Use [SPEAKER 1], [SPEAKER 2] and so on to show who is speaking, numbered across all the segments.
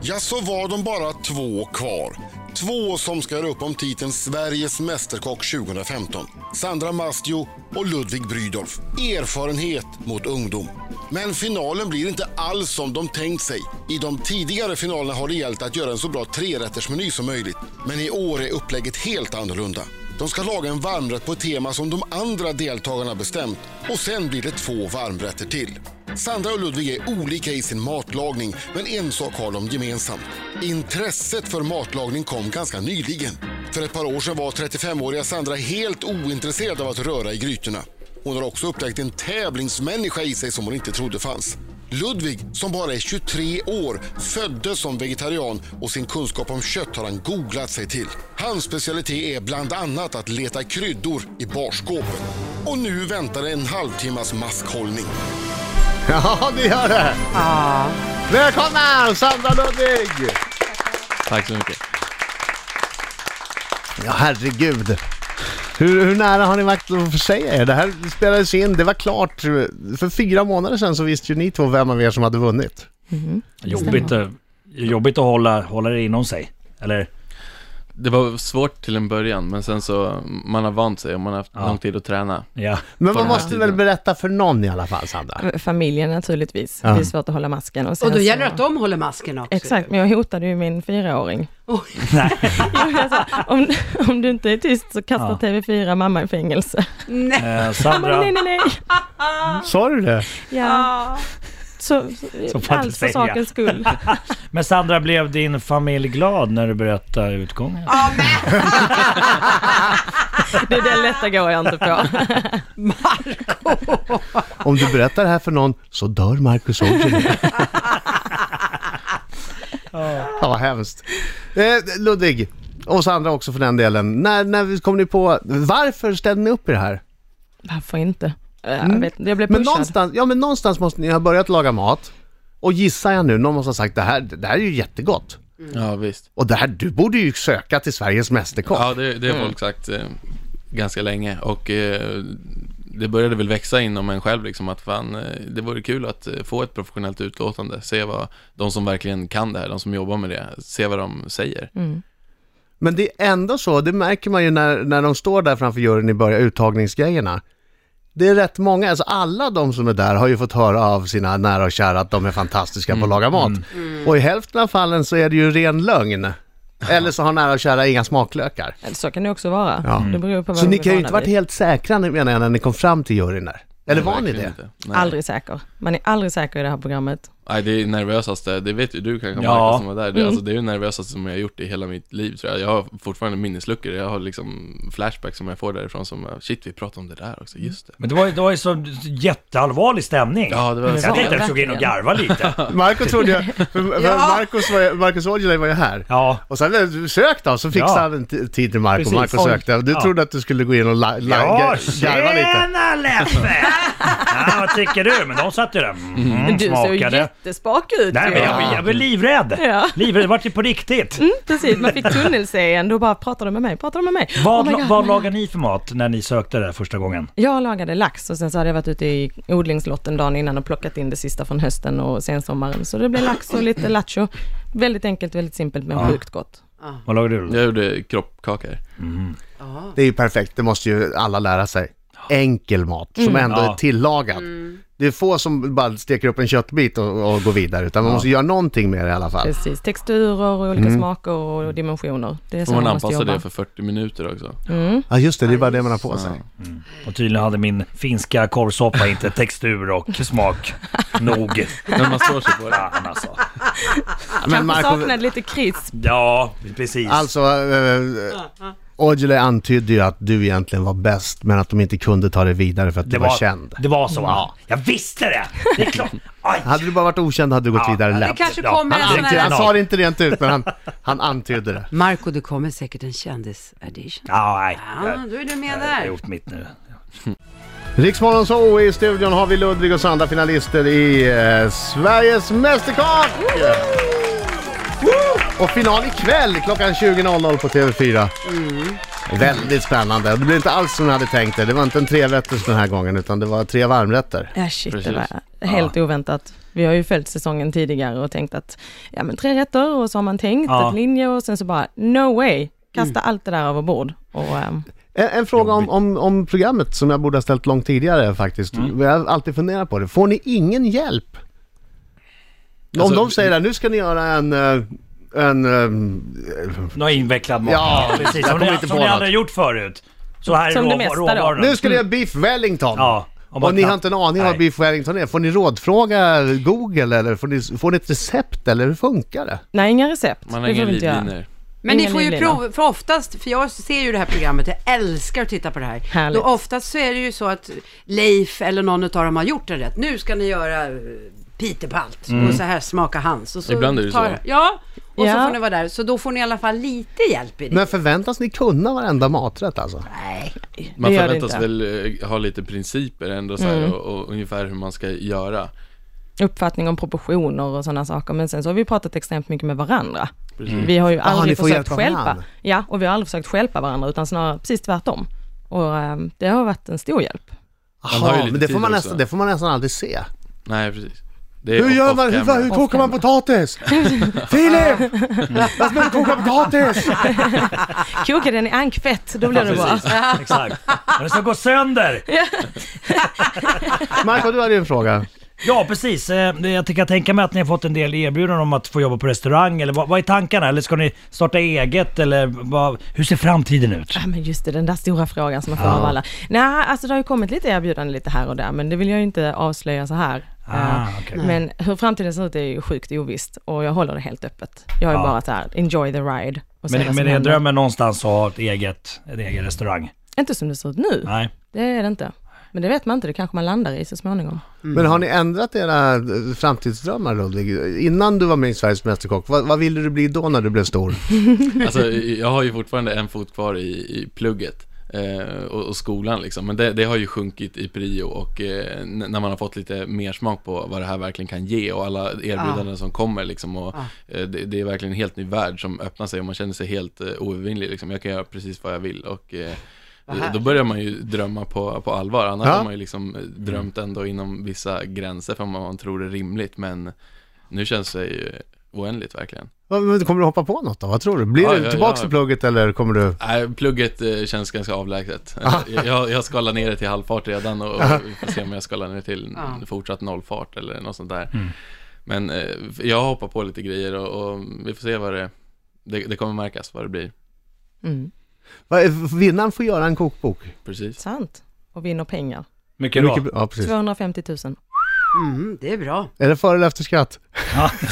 [SPEAKER 1] Ja, så var de bara två kvar. Två som ska göra upp om titeln Sveriges Mästerkock 2015. Sandra Mastio och Ludvig Brydolf. Erfarenhet mot ungdom. Men finalen blir inte alls som de tänkt sig. I de tidigare finalerna har det gällt att göra en så bra trerättersmeny som möjligt. Men i år är upplägget helt annorlunda. De ska laga en varmrätt på ett tema som de andra deltagarna bestämt och sen blir det två varmrätter till. Sandra och Ludvig är olika i sin matlagning, men en sak har de gemensamt. Intresset för matlagning kom ganska nyligen. För ett par år sedan var 35-åriga Sandra helt ointresserad av att röra i grytorna. Hon har också upptäckt en tävlingsmänniska i sig som hon inte trodde fanns. Ludvig, som bara är 23 år, föddes som vegetarian och sin kunskap om kött har han googlat sig till. Hans specialitet är bland annat att leta kryddor i barskåpet. Och nu väntar en halvtimmas maskhållning.
[SPEAKER 2] Ja, det gör det!
[SPEAKER 3] Ja.
[SPEAKER 2] Välkomna Sandra Ludvig!
[SPEAKER 4] Tack så mycket.
[SPEAKER 2] Ja, herregud. Hur, hur nära har ni varit att försäga er? Det här spelades in, det var klart. För fyra månader sedan så visste ju ni två vem av er som hade vunnit.
[SPEAKER 5] Jobbigt, eh, jobbigt att hålla, hålla det inom sig. Eller?
[SPEAKER 4] Det var svårt till en början, men sen så, man har vant sig och man har haft
[SPEAKER 5] Ja.
[SPEAKER 4] lång tid att träna.
[SPEAKER 5] Ja.
[SPEAKER 2] Men man
[SPEAKER 4] den här
[SPEAKER 2] måste väl
[SPEAKER 4] tiden.
[SPEAKER 2] berätta för någon i alla fall, Sandra?
[SPEAKER 6] Familjen naturligtvis.
[SPEAKER 2] Ja.
[SPEAKER 6] Det är svårt att hålla masken. Och, sen
[SPEAKER 3] Och då gäller det
[SPEAKER 6] så-
[SPEAKER 3] att de håller masken också.
[SPEAKER 6] Alltså. Exakt, men jag hotade ju min fyraåring.
[SPEAKER 3] Oj.
[SPEAKER 6] Jag sa,
[SPEAKER 3] Ah.
[SPEAKER 6] om, om du inte är tyst så kastar
[SPEAKER 5] Ja.
[SPEAKER 6] TV4 mamma i fängelse.
[SPEAKER 3] Nej.
[SPEAKER 5] Eh,
[SPEAKER 6] Han bara,
[SPEAKER 5] Sandra,
[SPEAKER 6] nej, nej, nej.
[SPEAKER 2] Sa du det?
[SPEAKER 6] Ja,
[SPEAKER 3] Ah.
[SPEAKER 6] så,
[SPEAKER 5] Så får jag
[SPEAKER 6] allt
[SPEAKER 5] inte
[SPEAKER 6] för
[SPEAKER 5] säga.
[SPEAKER 6] sakens skull.
[SPEAKER 5] men Sandra, blev din familj glad när du berättade utgången?
[SPEAKER 6] Det är det lätta går jag inte på.
[SPEAKER 2] Om du berättar det här för någon så dör Marcus Aujalay. ja, vad hemskt. Eh, Ludvig, och Sandra också för den delen. När, när kom ni på, varför ställde ni upp i det här?
[SPEAKER 6] Varför inte?
[SPEAKER 5] Mm.
[SPEAKER 6] Jag, vet, inte, jag blev
[SPEAKER 2] Men
[SPEAKER 6] pushad.
[SPEAKER 2] någonstans, ja, men någonstans måste ni ha börjat laga mat. Och gissar jag nu, någon måste ha sagt det här, det här är ju jättegott.
[SPEAKER 4] Ja, visst.
[SPEAKER 2] Och det här, du borde ju söka till Sveriges Mästerkock.
[SPEAKER 4] Ja, det, det har folk sagt eh, ganska länge och eh, det började väl växa inom en själv liksom att fan, eh, det vore kul att eh, få ett professionellt utlåtande, se vad de som verkligen kan det här, de som jobbar med det, se vad de säger.
[SPEAKER 2] Mm. Men det är ändå så, det märker man ju när, när de står där framför juryn i början, uttagningsgrejerna. Det är rätt många, alltså alla de som är där har ju fått höra av sina nära och kära att de är fantastiska
[SPEAKER 4] Mm.
[SPEAKER 2] på att laga mat. Och i hälften av fallen så är det ju ren lögn. Eller så har nära och kära inga smaklökar.
[SPEAKER 6] Eller Så kan det också vara.
[SPEAKER 2] Ja.
[SPEAKER 6] Det beror på vad
[SPEAKER 2] Så
[SPEAKER 6] vi
[SPEAKER 2] ni
[SPEAKER 6] är
[SPEAKER 2] kan ju
[SPEAKER 6] vana
[SPEAKER 2] inte varit
[SPEAKER 6] vid.
[SPEAKER 2] helt säkra menar jag när ni kom fram till juryn där. Eller var ni
[SPEAKER 4] Verkligen
[SPEAKER 2] det?
[SPEAKER 4] inte. Nej.
[SPEAKER 6] Aldrig säker. Man är aldrig säker i det här programmet.
[SPEAKER 4] Nej, det är nervösaste, det vet ju du kanske
[SPEAKER 5] Ja.
[SPEAKER 4] Marcus som var där. Det,
[SPEAKER 6] Mm.
[SPEAKER 4] alltså, det är ju nervösaste som jag har gjort i hela mitt liv tror jag. Jag har fortfarande minnesluckor, jag har liksom flashbacks som jag får därifrån som, ah, shit vi pratade om det där också, just det.
[SPEAKER 5] Men det var, ju- det var ju så jätteallvarlig stämning.
[SPEAKER 4] Ja, det var
[SPEAKER 5] jag tänkte att
[SPEAKER 6] verkligen.
[SPEAKER 5] jag skulle gå in och garva lite.
[SPEAKER 2] Marco trodde jag, för, för Marcus, var, ju- Marcus Aujalay var ju här.
[SPEAKER 5] Ja,
[SPEAKER 2] Och sen eh, sök då, så fixade
[SPEAKER 5] Ja.
[SPEAKER 2] han en t- tid till Marco.
[SPEAKER 5] Precis.
[SPEAKER 2] Marco
[SPEAKER 5] Oj.
[SPEAKER 2] sökte. Du
[SPEAKER 5] Ja.
[SPEAKER 2] trodde att du skulle gå in och la- la-
[SPEAKER 5] ja
[SPEAKER 2] gar- garva lite.
[SPEAKER 5] tjena Leffe! ja, vad tycker du? Men de satt ju där. Mm,
[SPEAKER 6] du ser ju
[SPEAKER 5] smakade.
[SPEAKER 6] jättespak ut
[SPEAKER 5] Nej,
[SPEAKER 6] ju.
[SPEAKER 5] men jag, jag blev livrädd.
[SPEAKER 6] Ja.
[SPEAKER 5] Livrädd, det vart ju på riktigt.
[SPEAKER 6] Mm, precis, man fick tunnelseende och bara pratar de med mig, pratar de med mig.
[SPEAKER 5] Vad,
[SPEAKER 6] Oh my
[SPEAKER 5] la-
[SPEAKER 6] God.
[SPEAKER 5] vad lagar ni för mat när ni sökte det första gången?
[SPEAKER 6] Jag lagade lax och sen så hade jag varit ute i odlingslotten dagen innan och plockat in det sista från hösten och sensommaren. Så det blev lax och lite lattjo. Väldigt enkelt, väldigt simpelt men sjukt gott.
[SPEAKER 5] Vad lagade du?
[SPEAKER 4] Jag gjorde kroppkakor.
[SPEAKER 2] Det är ju perfekt, det måste ju alla lära sig. Enkel mat som ändå
[SPEAKER 5] Ja.
[SPEAKER 2] är tillagad. Det är få som bara steker upp en köttbit och, och går vidare, utan man måste göra någonting med det i alla fall.
[SPEAKER 6] Precis, texturer och olika smaker och dimensioner. Det är så
[SPEAKER 4] Mm. Får man
[SPEAKER 6] man måste
[SPEAKER 4] anpassa
[SPEAKER 6] jobba.
[SPEAKER 4] det för 40 minuter också.
[SPEAKER 2] Ja just det, det är bara det man har på sig.
[SPEAKER 5] Och tydligen hade min finska korvsoppa inte textur och smak nog.
[SPEAKER 4] När man står sig på det.
[SPEAKER 5] Fan alltså.
[SPEAKER 2] Men
[SPEAKER 6] Kanske
[SPEAKER 2] Marco,
[SPEAKER 6] saknade lite krisp.
[SPEAKER 5] Ja, precis.
[SPEAKER 2] alltså... Äh, Aujalay antydde ju att du egentligen var bäst, men att de inte kunde ta dig vidare för att du var, känd.
[SPEAKER 5] Det var så?
[SPEAKER 2] Ja.
[SPEAKER 5] Ja. Jag visste det! Det är klart. Aj.
[SPEAKER 2] Hade du bara varit okänd hade du gått
[SPEAKER 5] Ja,
[SPEAKER 2] vidare
[SPEAKER 3] Det
[SPEAKER 2] lätt.
[SPEAKER 3] kanske
[SPEAKER 5] Ja,
[SPEAKER 3] kommer en
[SPEAKER 2] Han,
[SPEAKER 3] sån
[SPEAKER 2] antydde,
[SPEAKER 3] här...
[SPEAKER 2] han sa det inte rent ut, men han, han antydde det.
[SPEAKER 3] Marco, det kommer säkert en kändis-edition.
[SPEAKER 5] Ja, nej.
[SPEAKER 3] Ja, då är du med
[SPEAKER 5] Jag har
[SPEAKER 3] där.
[SPEAKER 5] gjort mitt nu.
[SPEAKER 2] Riksmorgon så i studion har vi Ludvig och Sandra finalister i eh, Sveriges Mästerkock!
[SPEAKER 3] Mm.
[SPEAKER 2] Woo! Och final ikväll klockan 20.00 på TV4. Väldigt spännande. Och Det blev inte alls som jag hade tänkt det. Det var inte en trerätters den här gången utan det var tre varmrätter.
[SPEAKER 6] Ja, shit, det
[SPEAKER 4] Precis.
[SPEAKER 6] var helt oväntat. Vi har ju följt säsongen tidigare och tänkt att, ja men tre rätter och så har man tänkt
[SPEAKER 5] Ja.
[SPEAKER 6] ett linje och sen så bara, no way, kasta
[SPEAKER 4] Mm.
[SPEAKER 6] allt det där över bord. Och, ehm,
[SPEAKER 2] En, en fråga om, om, om programmet som jag borde ha ställt långt tidigare faktiskt.
[SPEAKER 4] Mm.
[SPEAKER 2] Jag har alltid funderat på det. Får ni ingen hjälp? om
[SPEAKER 4] Alltså,
[SPEAKER 2] de säger att nu ska ni göra en... eh, en eh,
[SPEAKER 5] Någon invecklad mat.
[SPEAKER 2] Ja, jag
[SPEAKER 5] precis. Som,
[SPEAKER 2] kommer
[SPEAKER 5] ni,
[SPEAKER 2] inte
[SPEAKER 5] som
[SPEAKER 2] på
[SPEAKER 5] ni
[SPEAKER 2] något.
[SPEAKER 5] aldrig har gjort förut. Så här är
[SPEAKER 6] Som det
[SPEAKER 5] rå,
[SPEAKER 6] mesta då.
[SPEAKER 5] råvarorna.
[SPEAKER 2] nu ska ni göra beef wellington!
[SPEAKER 5] Ja. om man
[SPEAKER 2] Och ni
[SPEAKER 5] knappt-
[SPEAKER 2] har inte en aning om vad
[SPEAKER 5] Nej.
[SPEAKER 2] beef wellington är. Får ni rådfråga Google eller får ni, får ni ett recept eller hur funkar det?
[SPEAKER 6] nej, inga recept.
[SPEAKER 4] Man har
[SPEAKER 6] det får
[SPEAKER 4] inga
[SPEAKER 6] vi inte göra.
[SPEAKER 4] livlinor.
[SPEAKER 3] Men ni
[SPEAKER 6] Ingen
[SPEAKER 3] får ju
[SPEAKER 6] livlina.
[SPEAKER 3] prov, för oftast, för jag ser ju det här programmet, jag älskar att titta på det här.
[SPEAKER 6] Härligt.
[SPEAKER 3] Då oftast så är det ju så att Leif eller någon av dem har gjort det rätt. Nu ska ni göra eh, pitepalt och så här smaka hans. Och så
[SPEAKER 4] Ibland är det
[SPEAKER 3] tar-
[SPEAKER 4] så.
[SPEAKER 3] Ja, och så
[SPEAKER 6] Ja.
[SPEAKER 3] får ni vara där. Så då får ni i alla fall lite hjälp i det.
[SPEAKER 2] Men förväntas ni kunna varenda maträtt alltså?
[SPEAKER 3] Nej.
[SPEAKER 4] Man
[SPEAKER 6] Det gör det
[SPEAKER 4] förväntas
[SPEAKER 6] inte. Mm.
[SPEAKER 4] väl eh, ha lite principer ändå så här, och, och ungefär hur man ska göra.
[SPEAKER 6] Uppfattning om proportioner och sådana saker. Men sen så har vi pratat extremt mycket med varandra.
[SPEAKER 4] Precis.
[SPEAKER 6] Vi har ju
[SPEAKER 3] Mm.
[SPEAKER 2] ni
[SPEAKER 3] Ah,
[SPEAKER 6] aldrig
[SPEAKER 2] får
[SPEAKER 6] försökt
[SPEAKER 2] hjälpa
[SPEAKER 6] stjälpa.
[SPEAKER 2] varandra.
[SPEAKER 6] Ja, och vi har aldrig försökt stjälpa varandra utan snarare precis tvärtom. Och ehm, det har varit en stor hjälp.
[SPEAKER 3] Ah,
[SPEAKER 4] Man har ju
[SPEAKER 2] Jaha,
[SPEAKER 4] lite
[SPEAKER 2] men det
[SPEAKER 4] tid
[SPEAKER 2] får, man
[SPEAKER 4] också.
[SPEAKER 2] nästan, det får man nästan aldrig se.
[SPEAKER 4] Nej, precis. Det är
[SPEAKER 2] Hur gör
[SPEAKER 4] off-
[SPEAKER 2] man?
[SPEAKER 4] off-camera.
[SPEAKER 2] Hur, hur kokar man potatis? Filip! Jag ska koka potatis!
[SPEAKER 3] ah.
[SPEAKER 6] Koka den i ankfett, då blir det bra.
[SPEAKER 4] precis.
[SPEAKER 5] Exakt. Den ska gå sönder!
[SPEAKER 2] Marco, du hade ju en fråga.
[SPEAKER 5] Ja, precis. Eh, Jag kan tänka mig att ni har fått en del erbjudanden om att få jobba på restaurang. Eller vad, vad är tankarna? Eller ska ni starta eget? Eller vad, hur ser framtiden ut?
[SPEAKER 6] Ja men just det, den där stora frågan som man får
[SPEAKER 4] Ah.
[SPEAKER 6] av alla. Nej, alltså det har ju kommit lite erbjudanden lite här och där, men det vill jag ju inte avslöja så här.
[SPEAKER 5] Ah,
[SPEAKER 6] Eh,
[SPEAKER 5] okej.
[SPEAKER 6] Men hur framtiden ser ut är ju sjukt ovisst och jag håller det helt öppet. Jag är
[SPEAKER 4] Ah.
[SPEAKER 5] Ja.
[SPEAKER 6] bara så här, enjoy the ride. Och se vad
[SPEAKER 5] Men,
[SPEAKER 6] som
[SPEAKER 5] men är
[SPEAKER 6] händer.
[SPEAKER 5] drömmen någonstans att ha ett eget, en egen restaurang?
[SPEAKER 6] Inte som det ser ut nu,
[SPEAKER 5] Nej.
[SPEAKER 6] det är det inte. Men det vet man inte, det kanske man landar i så småningom.
[SPEAKER 2] Men har ni ändrat era eh, framtidsdrömmar Ludvig? Innan du var med i Sveriges Mästerkock, vad, vad ville du bli då när du blev stor?
[SPEAKER 4] Alltså, jag har ju fortfarande en fot kvar i, i plugget eh, och, och skolan liksom. Men det, det har ju sjunkit i prio och eh, n- när man har fått lite mer smak på vad det här verkligen kan ge och alla erbjudanden som kommer liksom. Och, eh, det, det är verkligen en helt ny värld som öppnar sig och man känner sig helt eh, oövervinnlig liksom. Jag kan göra precis vad jag vill och eh, då börjar man ju drömma på, på allvar. Annars
[SPEAKER 2] Ja.
[SPEAKER 4] har man ju liksom eh, drömt ändå inom vissa gränser för vad man tror är rimligt. Men nu känns det ju oändligt verkligen.
[SPEAKER 2] Vad- men Kommer du hoppa på något då? Vad tror du? Blir
[SPEAKER 4] Ja,
[SPEAKER 2] du
[SPEAKER 4] ja,
[SPEAKER 2] tillbaka
[SPEAKER 4] ja.
[SPEAKER 2] till plugget eller kommer du...
[SPEAKER 4] Nej, plugget eh, känns ganska avlägset. jag, jag skalar ner det till halvfart redan och, och vi får se om jag skalar ner till en
[SPEAKER 6] Ah.
[SPEAKER 3] Ja.
[SPEAKER 4] fortsatt nollfart eller något sånt där. Men eh, jag hoppar på lite grejer och, och vi får se vad det, det Det kommer märkas vad det blir.
[SPEAKER 6] Mm.
[SPEAKER 2] Vad är- Vinnaren får göra en kokbok.
[SPEAKER 4] Precis.
[SPEAKER 6] Sant. Och vinner pengar.
[SPEAKER 5] Mycket
[SPEAKER 2] Mycket bra. Ja, precis.
[SPEAKER 6] 250 000.
[SPEAKER 3] Mm, det är bra.
[SPEAKER 2] Är det före eller efter skatt?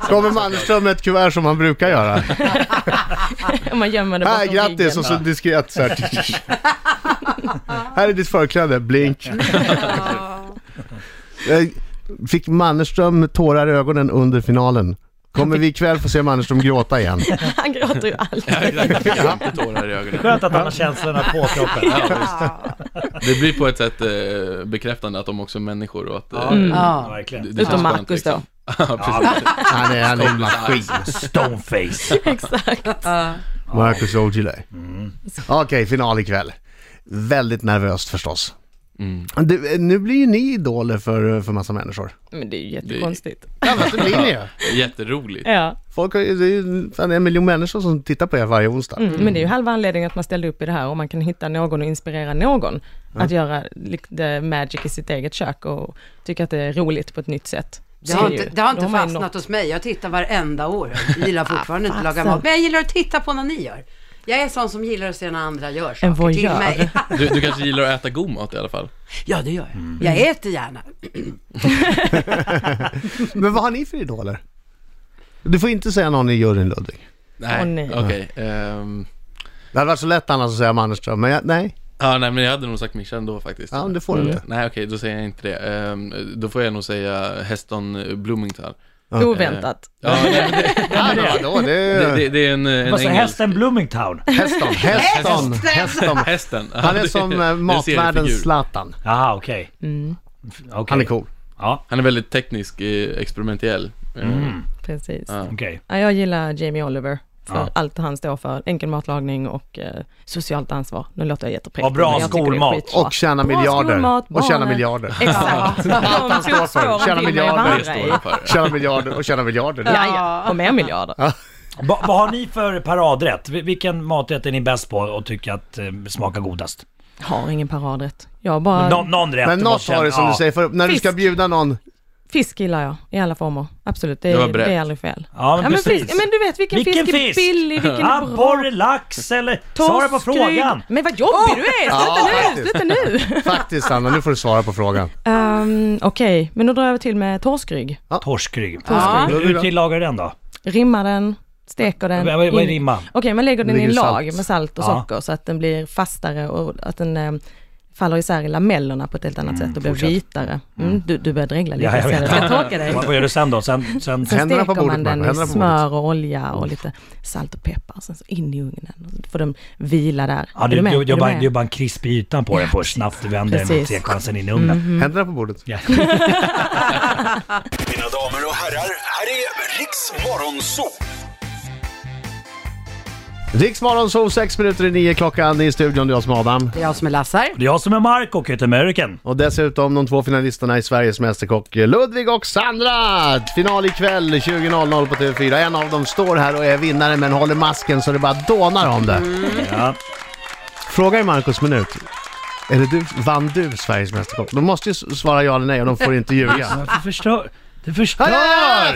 [SPEAKER 2] Kommer Mannerström med ett kuvert som han brukar göra?
[SPEAKER 6] Om man gömmer det bakom
[SPEAKER 2] Här, grattis!
[SPEAKER 6] ryggen.
[SPEAKER 2] Och så diskret så här. Här är ditt förkläde, blink. Eh, Fick Mannerström tårar i ögonen under finalen? Kommer vi ikväll få se Mannerström gråta igen?
[SPEAKER 6] Han gråter ju alltid.
[SPEAKER 4] Ja, exakt. Jag har inte tårar i ögonen.
[SPEAKER 5] Skönt att han har känslorna på kroppen.
[SPEAKER 4] Det blir på ett sätt eh, bekräftande att de också är människor och att... eh,
[SPEAKER 5] Ja, Mm.
[SPEAKER 3] Ja.
[SPEAKER 5] verkligen.
[SPEAKER 4] det känns
[SPEAKER 6] Utom
[SPEAKER 4] skönt, liksom.
[SPEAKER 6] Marcus då.
[SPEAKER 4] Ja, precis.
[SPEAKER 2] Han är, han är en maskin.
[SPEAKER 5] Stoneface.
[SPEAKER 6] Exakt.
[SPEAKER 2] Marcus Aujalay. Okej, final ikväll. Väldigt nervöst förstås.
[SPEAKER 4] Mm.
[SPEAKER 2] Du, eh, nu blir ju ni idoler för, för massa människor.
[SPEAKER 6] Men det är ju jättekonstigt.
[SPEAKER 2] Ja, men det blir ni ju.
[SPEAKER 4] Jätteroligt.
[SPEAKER 6] Ja.
[SPEAKER 2] Folk har, ju- det är ju fan en miljon människor som tittar på er varje onsdag.
[SPEAKER 6] Mm. Men det är ju halva anledningen att man ställde upp i det här och man kan hitta någon och inspirera någon att göra lite magic i sitt eget kök och tycka att det är roligt på ett nytt sätt.
[SPEAKER 3] Det har
[SPEAKER 6] är
[SPEAKER 3] inte,
[SPEAKER 6] ju-
[SPEAKER 3] det har inte
[SPEAKER 6] då man ju
[SPEAKER 3] fastnat
[SPEAKER 6] nått- Ah,
[SPEAKER 3] hos mig. Jag tittar varenda år. Jag gillar fortfarande inte att laga
[SPEAKER 6] fasen.
[SPEAKER 3] mat. Men jag gillar att titta på när ni gör. Jag är sån som gillar att se när andra gör saker
[SPEAKER 6] En
[SPEAKER 3] till
[SPEAKER 6] voyeur.
[SPEAKER 3] mig.
[SPEAKER 4] Du, du kanske gillar att äta god mat i alla fall?
[SPEAKER 3] Ja, det gör jag. Jag äter gärna.
[SPEAKER 2] Men vad har ni för idoler? Du får inte säga någon i juryn Ludvig.
[SPEAKER 4] Nej,
[SPEAKER 6] Åh, nej.
[SPEAKER 4] okej. ehm,
[SPEAKER 2] Det hade varit så lätt annars att säga Mannerström, men jag, nej.
[SPEAKER 4] Ja, nej men jag hade nog sagt Mischa ändå faktiskt.
[SPEAKER 2] Ja, men det får du inte.
[SPEAKER 4] Nej, okej, då säger jag inte det. Ehm, då får jag nog säga Heston Bloomington.
[SPEAKER 6] Oväntat.
[SPEAKER 4] Ja, nej, men det,
[SPEAKER 2] Ja, det, då, det,
[SPEAKER 4] det,
[SPEAKER 2] är
[SPEAKER 4] det, det är en, en
[SPEAKER 5] Vad sa
[SPEAKER 4] engelsk...
[SPEAKER 5] hästen Bloomingtown?
[SPEAKER 2] Heston, Heston, Heston.
[SPEAKER 4] Hästen. Ja,
[SPEAKER 2] Han är
[SPEAKER 4] det-
[SPEAKER 2] som
[SPEAKER 4] det är
[SPEAKER 2] eh,
[SPEAKER 4] en
[SPEAKER 2] matvärldens
[SPEAKER 4] seriefigur.
[SPEAKER 2] Zlatan.
[SPEAKER 5] Jaha, okej. Okej.
[SPEAKER 2] Han är cool.
[SPEAKER 5] Ja,
[SPEAKER 4] Han är väldigt teknisk, eh, experimentell. Ehm,
[SPEAKER 2] Mm.
[SPEAKER 6] Precis.
[SPEAKER 4] Ja.
[SPEAKER 5] okej.
[SPEAKER 6] Ja, jag gillar Jamie Oliver för allt han står för. Enkel matlagning och eh, socialt ansvar. Nu låter jag jättepräktig.
[SPEAKER 5] Och bra
[SPEAKER 6] men jag tycker det är
[SPEAKER 5] skolmat.
[SPEAKER 6] skitbra.
[SPEAKER 2] Och tjäna
[SPEAKER 6] Bra
[SPEAKER 2] miljarder.
[SPEAKER 6] skolmat,
[SPEAKER 2] och tjäna
[SPEAKER 6] barnen.
[SPEAKER 2] miljarder.
[SPEAKER 6] Exakt.
[SPEAKER 2] Allt han
[SPEAKER 6] De
[SPEAKER 2] står för.
[SPEAKER 6] fotspåren
[SPEAKER 2] Tjäna
[SPEAKER 6] finner
[SPEAKER 2] miljarder.
[SPEAKER 6] varandra
[SPEAKER 4] Det
[SPEAKER 6] i.
[SPEAKER 4] står jag för.
[SPEAKER 2] Tjäna miljarder och tjäna miljarder.
[SPEAKER 6] Ja, ja. Och mer miljarder.
[SPEAKER 5] Va, vad har ni för paradrätt? Vi- Vilken maträtt är ni bäst på och tycker att eh, smakar godast?
[SPEAKER 6] Har ingen paradrätt. Jag bara...
[SPEAKER 5] Nå, någon rätt.
[SPEAKER 2] Men
[SPEAKER 5] du
[SPEAKER 2] något
[SPEAKER 5] måste
[SPEAKER 2] har det som
[SPEAKER 5] känna-
[SPEAKER 2] du säger, för när du
[SPEAKER 6] Fisk.
[SPEAKER 2] ska bjuda någon,
[SPEAKER 6] Fisk gillar jag i alla former. Absolut, det,
[SPEAKER 4] Det var
[SPEAKER 6] är- det,
[SPEAKER 4] brett.
[SPEAKER 6] är aldrig fel.
[SPEAKER 5] Ja, men precis.
[SPEAKER 6] fisk- men du vet vilken,
[SPEAKER 5] Vilken
[SPEAKER 6] fisk är
[SPEAKER 5] fisk?
[SPEAKER 6] billig, vilken
[SPEAKER 5] Ja.
[SPEAKER 6] är bra.
[SPEAKER 5] Abborre, lax eller... Svara på
[SPEAKER 6] Torsk,
[SPEAKER 5] frågan!
[SPEAKER 6] rygg. Men vad jobbig du är!
[SPEAKER 2] Ja,
[SPEAKER 6] Sluta nu!
[SPEAKER 2] faktiskt.
[SPEAKER 6] Sluta nu!
[SPEAKER 2] faktiskt Anna, nu får du svara på frågan.
[SPEAKER 6] Ehm, Okej, men då drar jag till med torskrygg.
[SPEAKER 5] Torskrygg.
[SPEAKER 3] Ja.
[SPEAKER 5] Hur hur tillagar du den då?
[SPEAKER 6] Rimmar den, steker den.
[SPEAKER 5] Vad- vad- vad är
[SPEAKER 6] in-
[SPEAKER 5] rimma?
[SPEAKER 6] Okej, man lägger den i
[SPEAKER 2] Ligger
[SPEAKER 6] en
[SPEAKER 2] i
[SPEAKER 6] lag
[SPEAKER 2] salt.
[SPEAKER 6] med salt och
[SPEAKER 5] Ja.
[SPEAKER 6] socker så att den blir fastare och att den eh, faller isär i lamellerna på ett helt annat sätt och blir
[SPEAKER 5] fortsätt.
[SPEAKER 6] vitare. Mm, du, du börjar dregla lite.
[SPEAKER 5] Ja, jag
[SPEAKER 6] ser
[SPEAKER 5] vet.
[SPEAKER 6] Ska jag torka dig?
[SPEAKER 5] Vad vad gör du sen då? Sen, sen...
[SPEAKER 6] Sen
[SPEAKER 2] Händerna på
[SPEAKER 6] steker
[SPEAKER 2] bordet,
[SPEAKER 6] man
[SPEAKER 2] Marco,
[SPEAKER 6] den
[SPEAKER 2] händerna
[SPEAKER 6] i
[SPEAKER 2] på
[SPEAKER 6] smör och olja och lite salt och peppar. Sen så in i ugnen. Och så får de vila där.
[SPEAKER 5] Ja,
[SPEAKER 6] Är
[SPEAKER 5] du,
[SPEAKER 6] du
[SPEAKER 5] du,
[SPEAKER 6] med?
[SPEAKER 5] du,
[SPEAKER 6] Är du
[SPEAKER 5] bara,
[SPEAKER 6] med?
[SPEAKER 5] du bara en krisp i ytan på den först, snabbt vänder den mot
[SPEAKER 6] Precis. Mhm.
[SPEAKER 5] tekvansen in i ugnen.
[SPEAKER 6] Mm.
[SPEAKER 2] Händerna på bordet.
[SPEAKER 5] Ja.
[SPEAKER 7] Mina damer och herrar, här är Riks Morgonzoo!
[SPEAKER 2] Riksmorgon, så sex minuter i nio klockan i studion, det är jag som är Adam.
[SPEAKER 3] Det är jag som är Lassar.
[SPEAKER 5] Det är jag som är Mark och heter American.
[SPEAKER 2] Och dessutom de två finalisterna i Sveriges Mästerkock, eh, Ludvig och Sandra! Final ikväll 20.00 på TV4. En av dem står här och är vinnare men håller masken så det bara dånar om det.
[SPEAKER 5] Ja.
[SPEAKER 2] Frågar Marcus minut. Är det du, vann du Sveriges Mästerkock? De måste ju s- svara ja eller nej och de får inte ljuga.
[SPEAKER 5] Du förstör. Du
[SPEAKER 2] Ah, ja,
[SPEAKER 5] förstör!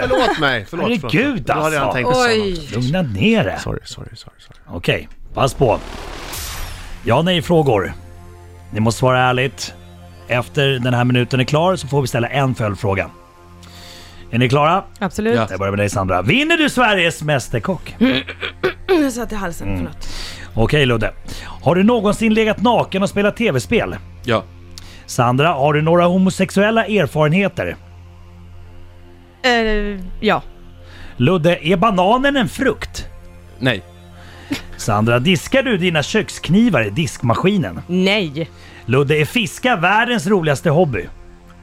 [SPEAKER 2] förlåt mig! Förlåt, förlåt.
[SPEAKER 5] Herregud,
[SPEAKER 2] Då hade jag
[SPEAKER 5] alltså.
[SPEAKER 2] tänkt detsamma.
[SPEAKER 3] Oj.
[SPEAKER 5] Lugna ner dig.
[SPEAKER 2] Sorry, sorry, sorry. sorry.
[SPEAKER 5] Okej, pass på. Ja nej frågor. Ni måste svara ärligt. Efter den här minuten är klar så får vi ställa en följdfråga. Är ni klara?
[SPEAKER 6] Absolut.
[SPEAKER 4] Ja.
[SPEAKER 5] Jag börjar med dig Sandra. Vinner du Sveriges Mästerkock?
[SPEAKER 6] Jag satt i halsen,
[SPEAKER 5] Mm.
[SPEAKER 6] förlåt.
[SPEAKER 5] Okej Ludde. Har du någonsin legat naken och spelat tv-spel?
[SPEAKER 4] Ja,
[SPEAKER 5] Sandra, har du några homosexuella erfarenheter?
[SPEAKER 6] Eh, ja.
[SPEAKER 5] Ludde, är bananen en frukt?
[SPEAKER 4] nej,
[SPEAKER 5] Sandra, diskar du dina köksknivar i diskmaskinen?
[SPEAKER 6] Nej.
[SPEAKER 5] Ludde, är fiska världens roligaste hobby?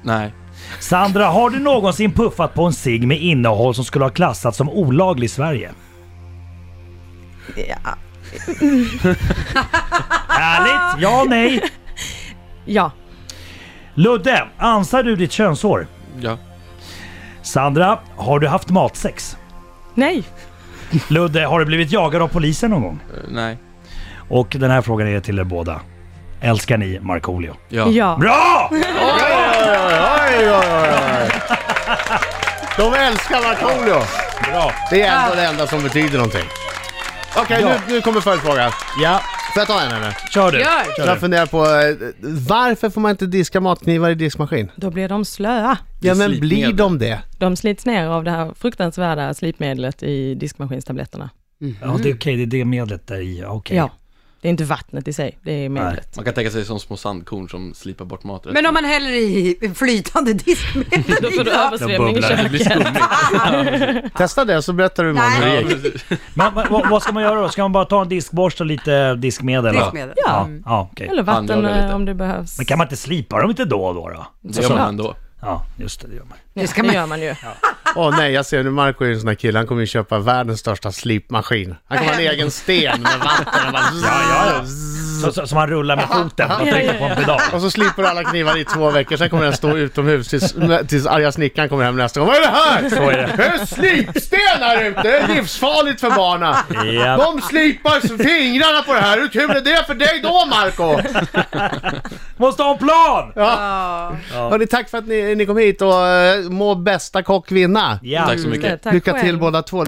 [SPEAKER 4] nej,
[SPEAKER 5] Sandra, har du någonsin puffat på en cigg med innehåll som skulle ha klassats som olaglig i Sverige?
[SPEAKER 6] Ja.
[SPEAKER 5] Ärligt? Ja, nej?
[SPEAKER 6] ja.
[SPEAKER 5] Ludde, ansar du ditt könshår?
[SPEAKER 4] ja,
[SPEAKER 5] Sandra, har du haft matsex?
[SPEAKER 6] Nej.
[SPEAKER 5] Ludde, har du blivit jagad av polisen någon gång?
[SPEAKER 4] eh, nej,
[SPEAKER 5] Och den här frågan är till er båda. Älskar ni Markoolio?
[SPEAKER 4] ja.
[SPEAKER 6] Ja. ja.
[SPEAKER 5] Bra!
[SPEAKER 2] Oj, oj, oj, oj. De älskar Markoolio!
[SPEAKER 5] Bra!
[SPEAKER 2] Det är ändå det enda som betyder någonting. Okej, nu, nu kommer följdfrågan.
[SPEAKER 5] Ja,
[SPEAKER 2] Får jag ta en eller?
[SPEAKER 5] kör du!
[SPEAKER 3] Gör.
[SPEAKER 5] Kör
[SPEAKER 2] Jag
[SPEAKER 5] du.
[SPEAKER 2] funderar på, eh, varför får man inte diska matknivar i diskmaskin?
[SPEAKER 6] Då blir de slöa.
[SPEAKER 2] Ja men
[SPEAKER 4] slipmedel.
[SPEAKER 2] blir de det?
[SPEAKER 6] De slits ner av det här fruktansvärda slipmedlet i diskmaskinstabletterna.
[SPEAKER 5] Ja, det är okej, det är det medlet där i. Okej.
[SPEAKER 6] Ja. Det är inte vattnet i sig, det är medlet.
[SPEAKER 4] Man kan tänka sig som små sandkorn som slipar bort maträtten.
[SPEAKER 3] Men om man häller i flytande diskmedel
[SPEAKER 6] Då får du översvämning i
[SPEAKER 5] bubblar det.
[SPEAKER 4] Det blir
[SPEAKER 6] köket.
[SPEAKER 4] skummigt.
[SPEAKER 2] Testa det så berättar du imorgon hur det
[SPEAKER 4] Ja,
[SPEAKER 2] gick.
[SPEAKER 4] precis.
[SPEAKER 5] Men, men, vad, vad ska man göra då? Ska man bara ta en diskborste och lite diskmedel? va?
[SPEAKER 3] diskmedel.
[SPEAKER 5] Ja, ja okej.
[SPEAKER 6] Eller vatten
[SPEAKER 4] Handjagar lite.
[SPEAKER 6] eh, om det behövs.
[SPEAKER 5] Men kan man inte slipa dem inte då och då? då?
[SPEAKER 4] Det gör man ändå.
[SPEAKER 5] Ja, just det, det gör man.
[SPEAKER 6] Ja,
[SPEAKER 3] ska
[SPEAKER 6] det
[SPEAKER 3] man-
[SPEAKER 6] gör man ju.
[SPEAKER 2] Åh nej, jag ser nu Marco är ju en sån här kille, han kommer ju köpa världens största slipmaskin. Han kommer ha en egen sten med vatten och bara...
[SPEAKER 5] Så, så, så man rullar med foten och trycker på en pedal.
[SPEAKER 2] Och så slipper du alla knivar i två veckor, sen kommer den stå utomhus tills, tills arga snickaren kommer hem nästa gång. Vad är det här? Så är det. är en slipsten här ute! Det är livsfarligt för barna!
[SPEAKER 5] Ja.
[SPEAKER 2] De slipar fingrarna på det här, hur kul är det för dig då Marco?
[SPEAKER 5] Måste ha en plan! Ja.
[SPEAKER 2] Hörni, tack för att ni, ni kom hit och eh, må bästa kock vinna!
[SPEAKER 4] Tack så mycket.
[SPEAKER 6] Eh, Tack
[SPEAKER 2] Lycka
[SPEAKER 6] själv.
[SPEAKER 2] till båda två!